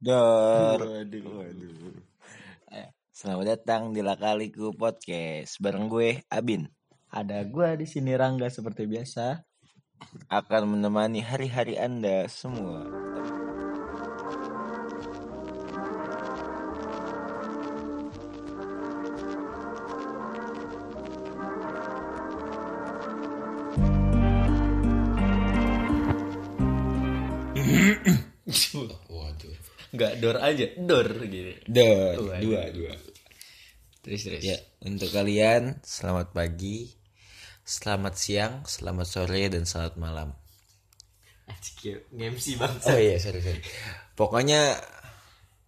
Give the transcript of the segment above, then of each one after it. Dor. Waduh, waduh. Selamat datang di Lakaliku Podcast bareng gue Abin. Ada gue di sini Rangga seperti biasa akan menemani hari-hari Anda semua. Waduh. Enggak dor aja, dor gitu. Dor, Waduh. dua, dua. Terus terus. Ya, untuk kalian selamat pagi, selamat siang, selamat sore dan selamat malam. Asik MC bangsa. Oh iya, sorry, sorry. Pokoknya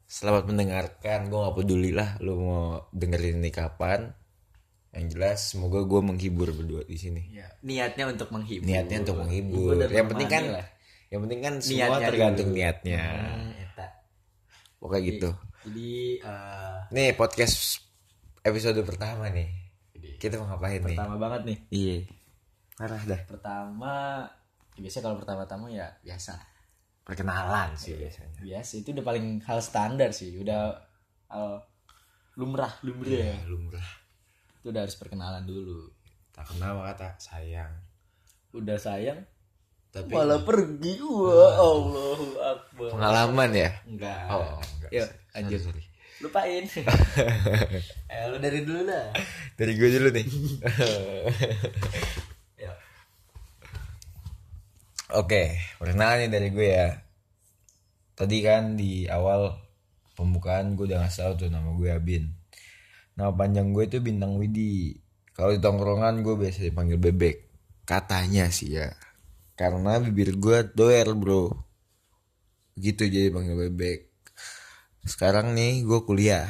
selamat mendengarkan. Gue gak peduli lah lu mau dengerin ini kapan. Yang jelas semoga gue menghibur berdua di sini. Iya. Niatnya untuk menghibur. Iya. Niatnya Iya, untuk menghibur. Menghibur dan Yang penting kan menemani lah. yang penting kan semua Niatnya tergantung dulu. niatnya. Hmm, eta. Pokoknya gitu. Jadi eh, Nih podcast episode pertama nih. Kita mau ngapain nih? Iya. pertama banget nih. Iya. Parah dah. Pertama ya biasanya kalau pertama-tama ya biasa. Perkenalan sih biasanya. Biasa itu udah paling hal standar sih, udah hal lumrah, lumrah. Ya, lumrah. Itu udah harus perkenalan Iya. dulu. Tak kenal maka tak sayang. Udah sayang Tapi malah pergi. Wah, Allahu Akbar. pengalaman ya. Enggak. Oh, enggak. Yuk, Sorry, lanjut. sorry. Lupain. eh, lu dari dulu lah. Dari gue dulu nih. Ya. Oke, perkenalan nih dari gue ya. Tadi kan di awal pembukaan gue udah ngasih tau tuh nama gue Abin. Nama panjang gue itu Bintang Widi. Kalau di tongkrongan gue biasa dipanggil Bebek. Katanya sih ya. Karena bibir gue doer bro. Gitu jadi panggil Bebek. Sekarang nih gue kuliah.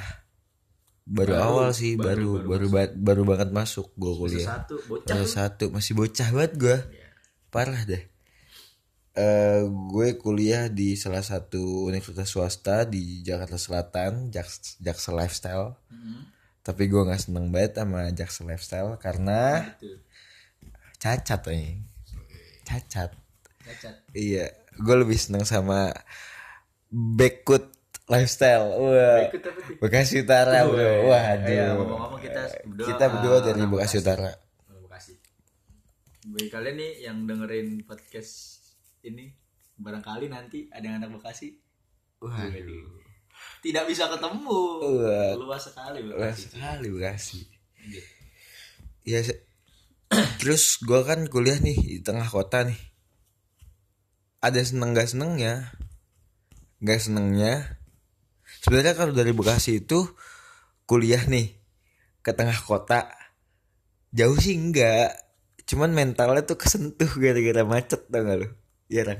Baru, awal sih, baru baru ba- baru, banget masuk gue kuliah. Satu bocah. Kelas satu masih bocah banget gue Iya. parah deh Eh gue kuliah di salah satu universitas swasta di Jakarta Selatan Jaks- Jaksa Lifestyle Mm-hmm. tapi gue nggak seneng banget sama Jaksa Lifestyle karena Gitu. cacat ini cacat Cacat. iya gue lebih seneng sama Bekut Lifestyle wah Ikut apa tuh? Bekasi Utara bro Ya, waduh ngomong-ngomong kita berdua. kita berdua eh, dari orang Bekasi Utara Orang Bekasi. Oh, Bagi kalian nih yang dengerin podcast ini barangkali nanti ada yang anak Bekasi. Waduh. Tidak bisa ketemu. Wah. Luas sekali Luas Bekasi. sekali Bekasi Gitu. ya se- terus gua kan kuliah nih di tengah kota nih ada seneng gak senengnya gak senengnya sebenarnya kalau dari Bekasi itu kuliah nih ke tengah kota jauh sih enggak cuman mentalnya tuh kesentuh gara-gara macet tau gak lu iya kan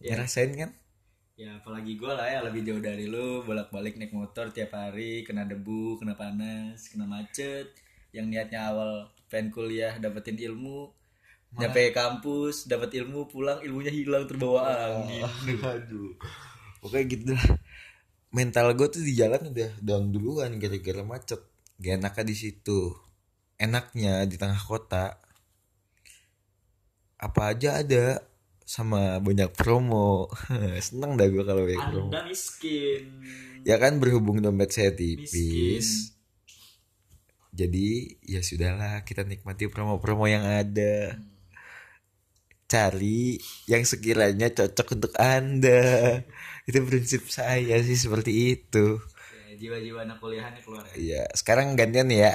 Iya. ngerasain kan Ya apalagi gue lah ya lebih jauh dari lu bolak-balik naik motor tiap hari kena debu, kena panas, kena macet. Yang niatnya awal pengen kuliah dapetin ilmu, nyampe kampus dapat ilmu pulang ilmunya hilang terbawa angin. Oh, aduh pokoknya gitu lah mental gue tuh di jalan udah down duluan gara-gara macet gak enaknya di situ enaknya di tengah kota apa aja ada sama banyak promo seneng dah gue kalau banyak promo Anda miskin. ya kan berhubung dompet saya miskin. tipis jadi ya sudahlah kita nikmati promo-promo yang ada cari yang sekiranya cocok untuk anda itu prinsip saya sih seperti itu Ya, jiwa-jiwa anak kuliahannya keluar ya ya. sekarang gantian nih ya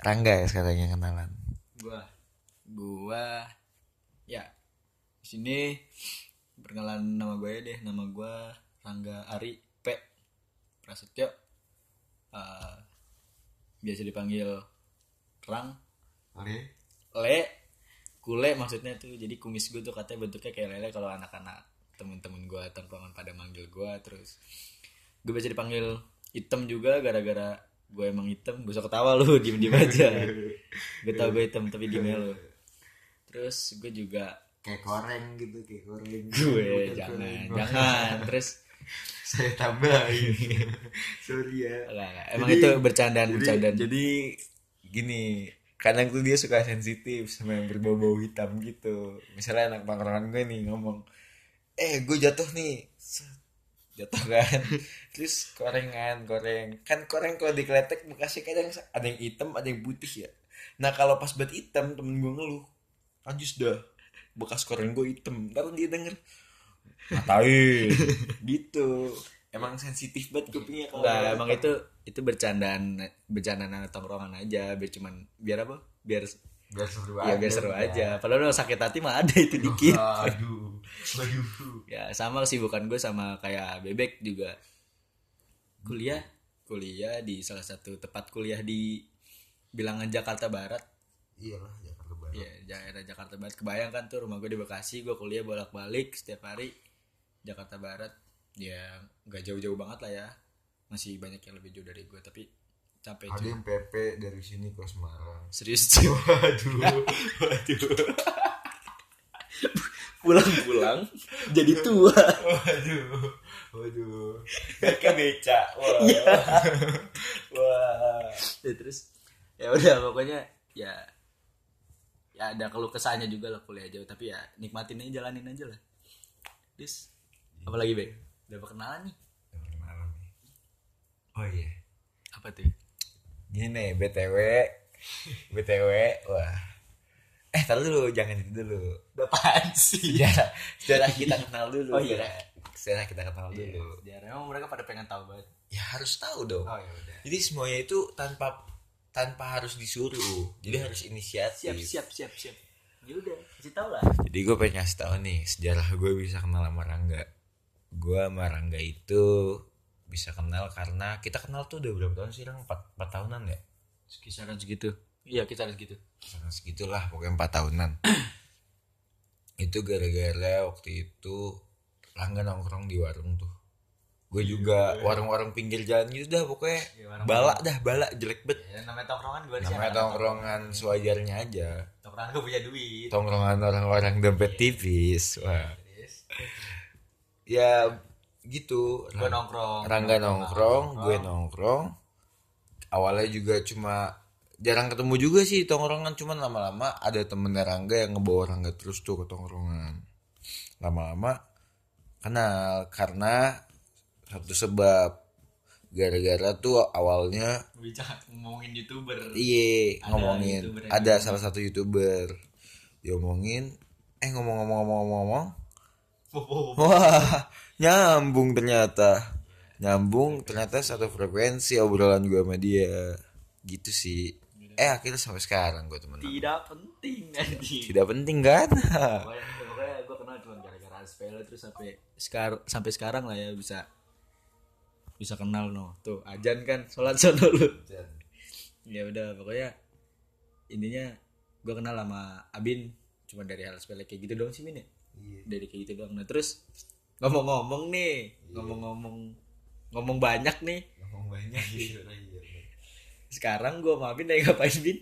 Rangga ya sekarang yang kenalan Gua gua ya di sini perkenalan nama gue deh. Nama gua Rangga Ari P Prasetyo. Eh, biasa dipanggil Rang Le Kule maksudnya tuh jadi kumis gue tuh katanya bentuknya kayak lele kalau anak-anak temen-temen gue tongkrongan pada manggil gue terus gue biasa dipanggil hitam juga gara-gara gue emang hitam gue usah ketawa lu diem diem aja gue tau gue hitam tapi diem aja lu terus gue juga kayak koreng gitu kayak koreng gue jangan jangan terus saya tambahin sorry ya lah, emang itu bercandaan bercandaan jadi gini kadang tuh dia suka sensitif sama yang berbau-bau hitam gitu misalnya anak pangkalan gue nih ngomong eh gue jatuh nih Set. jatuh kan terus korengan koreng kan koreng kalau dikeletek bekasnya kadang ada yang hitam ada yang putih ya nah kalau pas buat hitam temen gue ngeluh anjus dah bekas koreng gue hitam ntar dia denger ngatain gitu emang sensitif banget kupingnya kalau Enggak, Nah, emang itu itu bercandaan bercandaan anak tongkrongan aja, biar cuman biar apa? Biar Iya, biar seru ya biar seru aja. Padahal udah sakit hati mah ada itu dikit. aduh aduh Ya sama kesibukan gue sama kayak bebek juga. Kuliah, kuliah di salah satu tempat kuliah di bilangan Jakarta Barat. iyalah jangan lebaran Ya, daerah Jakarta Barat. Kebayang kan tuh rumah gue di Bekasi, gue kuliah bolak-balik setiap hari Jakarta Barat. Ya nggak jauh-jauh banget lah ya. Masih banyak yang lebih jauh dari gue tapi capek ada cuy. yang PP dari sini ke Semarang Serius cuy. aduh Pulang-pulang jadi tua. waduh waduh mereka beca wah wah Iya. Ya, terus ya udah pokoknya ya ya ada keluh kesahnya juga lah kuliah jauh tapi ya nikmatin aja jalanin aja lah. Terus apalagi Bek? Udah perkenalan nih. Dengar malam nih. oh iya Apa tuh? gini btw btw wah eh taruh dulu jangan itu dulu Apaan sih? sejarah sejarah kita kenal dulu Iya. Oh, iya. sejarah kita kenal Iya, dulu sejarah. Emang mereka pada pengen tahu banget. ya harus tahu dong Oh ya udah. jadi semuanya itu tanpa tanpa harus disuruh jadi harus inisiatif Siap, Iya. siap, siap, siap. Ya udah, kasih tahu lah. Jadi gue pengen ngasih tau nih sejarah gue bisa kenal sama Rangga. Gue sama Rangga itu bisa kenal karena kita kenal tuh udah berapa tahun sih Rang? 4, tahunan ya? Kisaran segitu. Iya, kisaran segitu. Kisaran Nah, segitulah pokoknya 4 tahunan. itu gara-gara waktu itu Rangga nongkrong di warung tuh. Gue juga warung-warung pinggir jalan gitu dah pokoknya Iya, warung-warung. balak dah balak jelek bet. Ya, namanya tongkrongan gue Namanya tongkrongan sewajarnya aja. Tongkrongan gue punya duit. Tongkrongan orang-orang Iya. dompet tipis. Wah. Terus ya gitu gue nongkrong. Rangga nongkrong gue nongkrong awalnya juga cuma jarang ketemu juga sih di tongkrongan cuman lama-lama ada temennya Rangga yang ngebawa Rangga terus tuh ke tongkrongan lama-lama kenal karena satu sebab gara-gara tuh awalnya Bicara ngomongin youtuber. Iya Ada ngomongin YouTuber yang gitu. ada salah satu youtuber diomongin eh ngomong-ngomong-ngomong-ngomong Wow. Wah, nyambung ternyata. Nyambung ternyata satu frekuensi obrolan gue sama dia. Gitu sih. Eh akhirnya sampai sekarang gue temen Tidak penting anjing. Tidak penting kan? Pokoknya, pokoknya gue kenal cuma gara-gara Aspela terus sampai sekar sampai sekarang lah ya bisa bisa kenal no. Tuh, ajan kan sholat sono lu. ya udah pokoknya intinya gue kenal sama Abin cuma dari hal sepele kayak gitu doang sih Min ya Iya, dari kayak gitu doang nah terus ngomong-ngomong nih ngomong-ngomong ngomong banyak nih Ngomong banyak gitu sekarang gue sama Abin lagi ngapain Bin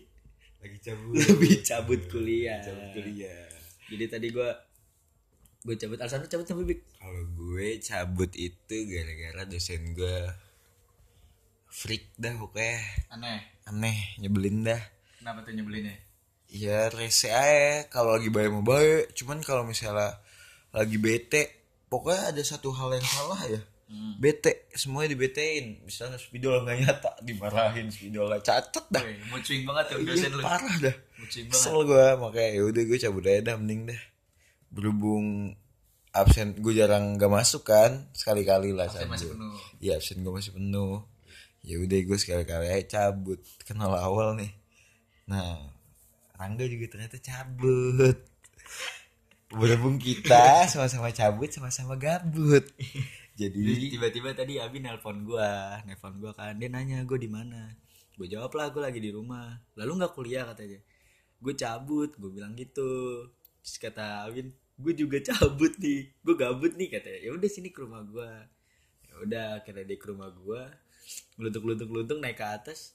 Lagi cabut. lebih Iya, cabut kuliah kuliah. jadi tadi gue gue cabut alasan lu cabut sama Big Kalau gue cabut itu gara-gara dosen gue freak dah pokoknya aneh aneh nyebelin dah. kenapa tuh nyebelinnya Ya rese aja kalau lagi baik mau baik, cuman kalau misalnya lagi bete, pokoknya ada satu hal yang salah ya. Bete, semuanya dibetein. Misalnya spidol nggak nyata, dimarahin spidolnya cacat dah. Woi, mucuing banget tuh Iya, dosen lu parah dah. mucuing banget Kesel gue, makanya yaudah gue cabut aja dah, mending dah. Berhubung absen, gue jarang gak masuk kan, sekali-kali lah. Absen masih penuh. Iya absen gue masih penuh. Ya udah gue sekali-kali aja cabut, kenal awal nih. Nah, Rangga juga ternyata cabut. Berhubung kita sama-sama cabut, sama-sama gabut. Jadi Jadi tiba-tiba tadi Abi nelpon gua, nelpon gua kan dia nanya gua di mana. Gua jawab lah gua lagi di rumah. Lalu nggak kuliah katanya. Gue cabut, gue bilang gitu. Terus kata Abin, gue juga cabut nih, gue gabut nih katanya. Ya udah sini ke rumah gua. Ya udah akhirnya dia ke rumah gua. Ngelutuk-lutuk-lutuk naik ke atas.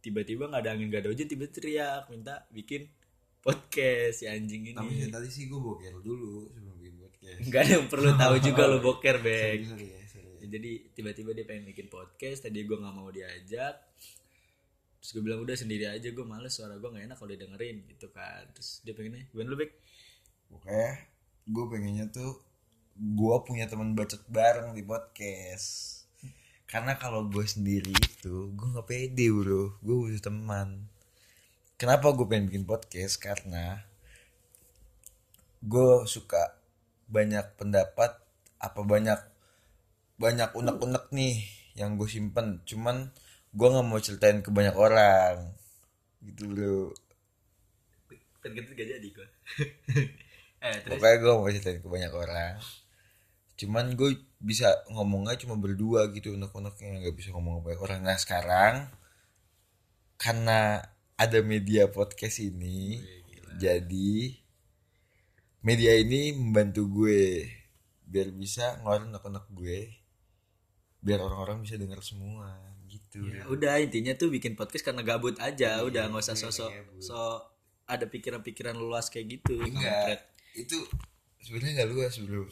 Tiba-tiba nggak ada angin nggak ada hujan, tiba-tiba teriak minta bikin podcast si anjing tapi ini. tadi sih gue boker dulu sebelum bikin podcast. Nggak ada yang perlu tahu juga lo boker bek. Sorry ya, sorry ya. Ya, jadi tiba-tiba dia pengen bikin podcast tadi gue nggak mau diajak terus gue bilang udah sendiri aja gue males suara gue nggak enak kalau didengerin gitu kan terus dia pengennya gimana lu Bek? Pokoknya gue pengennya tuh gue punya teman bacot bareng di podcast karena kalau gue sendiri itu gue nggak pede bro gue butuh teman kenapa gue pengen bikin podcast karena gue suka banyak pendapat apa banyak banyak unek-unek nih yang gue simpen cuman gue nggak mau ceritain ke banyak orang gitu bro kan gitu gak jadi gue eh terus pokoknya gue mau ceritain ke banyak orang cuman gue bisa ngomongnya cuma berdua gitu unek-uneknya nggak bisa ngomong ke banyak orang nah sekarang karena ada media podcast ini Wih, gila. jadi media ini membantu gue biar bisa ngeluarin unek-unek gue biar orang-orang bisa dengar semua gitu Ya, udah intinya tuh bikin podcast karena gabut aja udah nggak usah karena sosok Iya, gabut. so ada pikiran-pikiran luas kayak gitu enggak itu sebenarnya nggak luas bro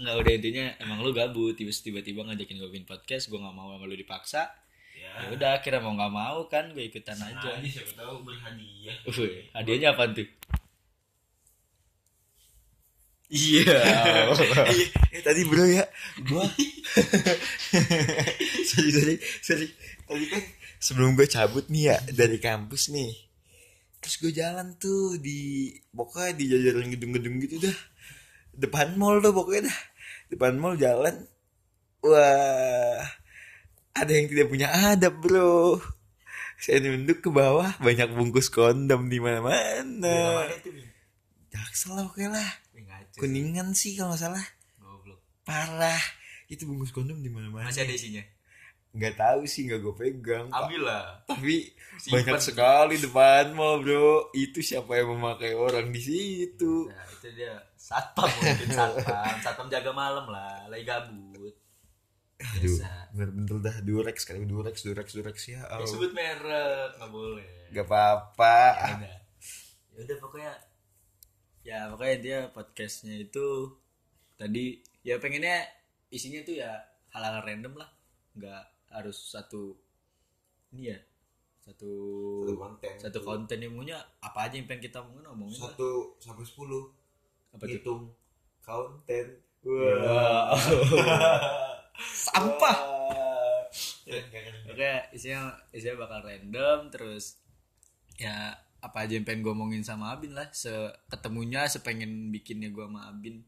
nggak udah intinya emang lu gabut tiba- tiba-tiba ngajakin gue bikin podcast gue nggak mau sama lu dipaksa ya udah akhirnya mau nggak mau kan gue ikutan aja siapa tahu berhadiah Wih, hadiahnya apa tuh iya Iya, eh, tadi bro ya gua sorry sorry sorry tadi kan sebelum gue cabut nih ya dari kampus nih terus gue jalan tuh di pokoknya di jajaran gedung-gedung gitu dah depan mall tuh pokoknya dah depan mall jalan wah ada yang tidak punya adab bro saya nunduk ke bawah banyak bungkus kondom di mana-mana jaksel lah pokoknya lah kuningan sih kalau nggak salah goblok parah itu bungkus kondom di mana mana masih ada isinya nggak tahu sih nggak gue pegang Pak. ambil lah tapi Simpen. banyak sekali depan mall bro itu siapa yang memakai orang di situ Nah, itu dia satpam mungkin satpam, satpam jaga malam lah, lagi gabut. aduh Biasa. bener-bener dah durex kali durex durex durex ya Ya, Allah. sebut merek nggak boleh. nggak apa-apa Ya udah. Ya udah pokoknya ya pokoknya dia podcastnya itu tadi ya pengennya isinya tuh ya hal-hal random lah, nggak harus satu ini ya satu Satu konten. gitu. satu konten yang punya apa aja yang pengen kita omongin omongin lah. satu sampai sepuluh apa tuh hitung konten Wah. sampah Ya, Oke, isinya isinya bakal random terus ya apa aja yang pengen gue omongin sama Abin lah, seketemunya sepengen bikinnya gue sama Abin.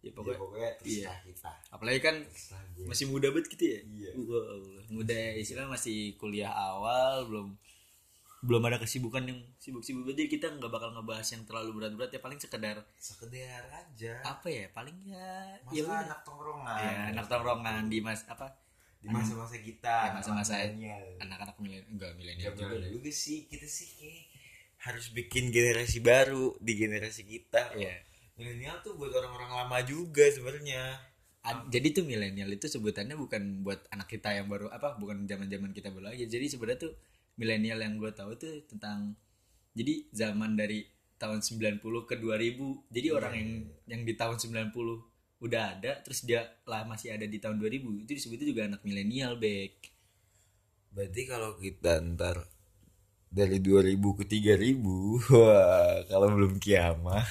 Ya pokoknya Iya. terserah kita apalagi kan masih muda banget gitu ya. Iya. Wah, Allah. muda ya, istilahnya masih kuliah awal belum belum ada kesibukan yang sibuk-sibuk jadi kita nggak bakal ngebahas yang terlalu berat-berat ya paling sekedar sekedar aja apa ya paling ya masa ya udah. Iya, anak tongkrongan ya anak tongkrongan di mas apa di masa-masa kita Ya, masa-masa milenial. anak-anak milenial enggak ya milenial juga bener juga sih kita sih kayak harus bikin generasi baru di generasi kita Iya. milenial tuh buat orang-orang lama juga sebenarnya Ad- jadi tuh milenial itu sebutannya bukan buat anak kita yang baru apa bukan zaman-zaman kita baru aja jadi sebenarnya tuh milenial yang gue tahu tuh tentang jadi zaman dari tahun 90 ke 2000 jadi orang yang yang di tahun 90 udah ada terus dia lah masih ada di tahun 2000 itu disebutnya juga anak milenial back berarti kalau kita ntar dari 2000 ke 3000 wah kalau belum kiamat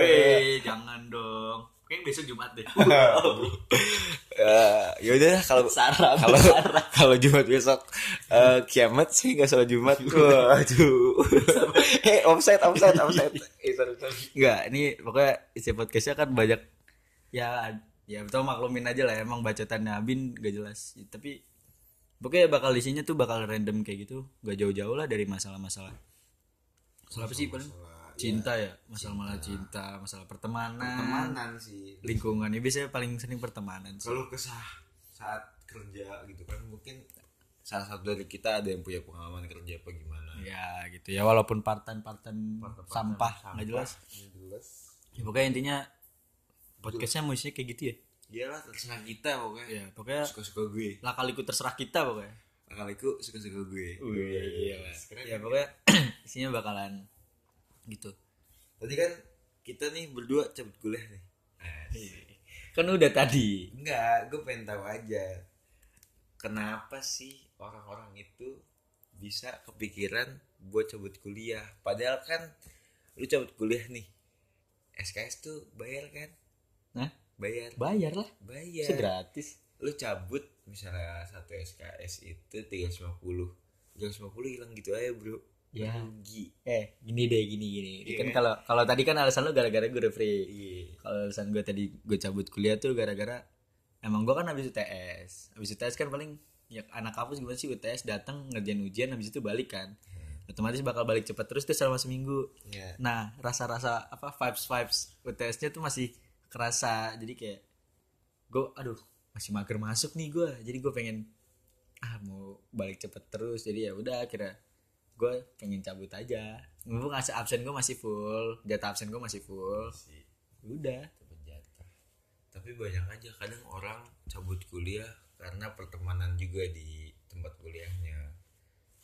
Weh, jangan dong kayaknya besok Jumat deh Iya. Eh, yaudah lah, kalau Sarah, kalau Sarah. kalau Jumat besok eh, kiamat sih nggak salah Jumat waduh eh offset offset offset eh sorry sorry Enggak, ini pokoknya isi podcastnya kan banyak ya ya betul maklumin aja lah emang bacotannya Abin gak jelas tapi pokoknya bakal isinya tuh bakal random kayak gitu gak jauh-jauh lah dari masalah-masalah masalah apa sih paling cinta ya masalah masalah cinta masalah pertemanan, pertemanan sih lingkungan ya biasanya paling sering pertemanan sih. kalau kesah saat kerja gitu kan mungkin salah satu dari kita ada yang punya pengalaman kerja apa gimana ya gitu ya walaupun partan-partan sampah nggak jelas Nggak jelas ya, pokoknya intinya podcastnya mau isinya kayak gitu ya iyalah Iya terserah kita pokoknya ya pokoknya suka suka Iya, gue lah kaliku terserah kita pokoknya kaliku suka suka gue iya. Wih, Keren. ya pokoknya isinya bakalan gitu. tadi kan kita nih berdua cabut kuliah nih Kan udah tadi. Enggak, gue pengen tahu aja. Kenapa sih orang-orang itu bisa kepikiran buat cabut kuliah? Padahal kan lu cabut kuliah nih. SKS tuh bayar kan? Nah, bayar Bayar lah. bayar Bisa gratis. lu cabut misalnya satu SKS itu 350 350 hilang gitu aja bro Ya. rugi Eh, gini deh, gini gini. Iya Kan kan? kalau kalau tadi kan alasan lu gara-gara gue udah free. iya kalau alasan gue tadi gue cabut kuliah tuh gara-gara emang gue kan habis UTS habis UTS kan paling ya anak kampus gimana sih UTS datang ngerjain ujian habis itu balik kan otomatis bakal balik cepat terus tuh selama seminggu Iya. nah rasa-rasa apa vibes vibes UTS-nya tuh masih kerasa jadi kayak gue aduh masih mager masuk nih gue jadi gue pengen ah mau balik cepet terus jadi ya udah akhirnya gue pengen cabut aja mumpung as- absen gue masih full jatah absen gue masih full sih udah dapat jatah. tapi banyak aja kadang orang cabut kuliah karena pertemanan juga di tempat kuliahnya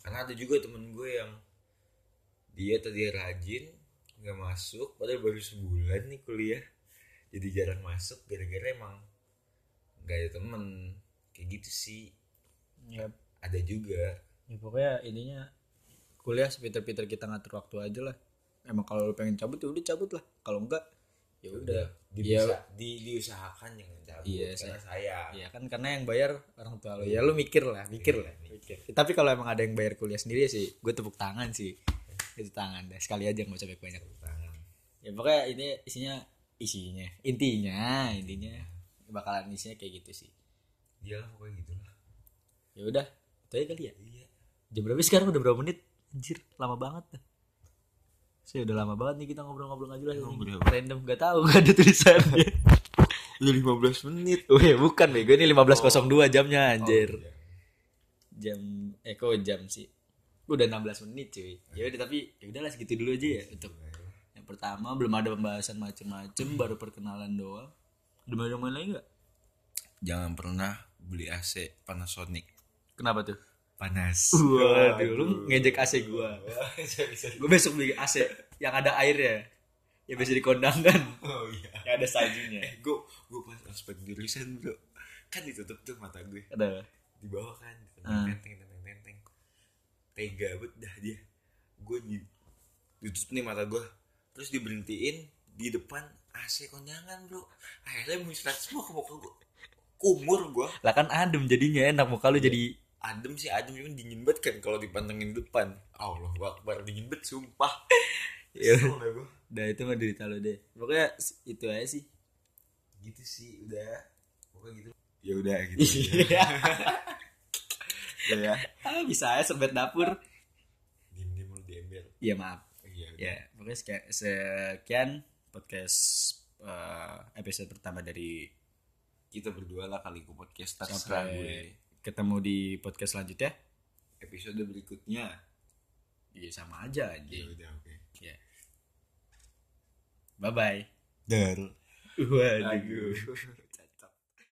karena ada juga temen gue yang dia tadi rajin nggak masuk padahal baru sebulan nih kuliah jadi jarang masuk gara-gara emang nggak ada temen kayak gitu sih ya, ada juga ya pokoknya ininya kuliah sepinter-pinter kita ngatur waktu aja lah emang kalau lu pengen cabut ya udah cabut lah kalau enggak ya udah Dibisa- Iya. di- diusahakan jangan cabut Iya, karena saya ya kan karena yang bayar orang tua lu ya lu mikir lah mikir Iya, lah Mikir. tapi kalau emang ada yang bayar kuliah sendiri ya sih gue tepuk tangan sih itu tangan deh sekali aja nggak usah banyak banyak tangan ya pokoknya ini isinya isinya intinya intinya bakalan isinya kayak gitu sih dia lah pokoknya gitu lah ya udah itu aja kali ya iya Jam berapa sih sekarang udah berapa menit? Anjir, lama banget. Saya udah lama banget nih kita ngobrol-ngobrol aja lah. Ngobrol apa? Random gak tahu, gak ada tulisannya. udah 15 menit Weh, bukan bego ini 15.02 jamnya anjir. iya. Jam eh kok jam sih? Udah 16 menit cuy. Ya udah tapi ya udahlah segitu dulu aja ya untuk yang pertama belum ada pembahasan macem-macem baru perkenalan doang. Hmm. Ada yang main lagi gak? jangan pernah beli AC Panasonic Kenapa tuh? panas Waduh, lu ngejek AC gua. Gue besok beli AC yang ada airnya. Yang biasa dikondangkan. oh iya Yang ada sajunya. eh gue gue pas ospek jurusan bro kan ditutup tuh mata gue Ada. di bawah kan nenteng nenteng nenteng tega banget dah dia gue di ditutup nih mata gue terus diberhentiin di depan AC kondangan bro akhirnya muncrat semua ke muka gue kumur gue Lah kan adem jadinya enak muka lu jadi adem sih adem cuman dingin banget kan kalau dipantengin depan Allah wakbar dingin banget sumpah Iya. Kesel dah gua. udah itu mah derita lu deh. Pokoknya s- itu aja sih. gitu sih udah pokoknya gitu ya udah gitu Iya. aja. ya ah, bisa aja sebet dapur. diem diem lu di ember Iya maaf. iya Ya, pokoknya sekian, sekian podcast eh, episode pertama dari kita berdua lah kali ke podcast terserah sampai gue ketemu di podcast selanjutnya. episode berikutnya Iya sama aja anjing. udah oke Ya. Bye bye. dar Iya. Waduh. aduh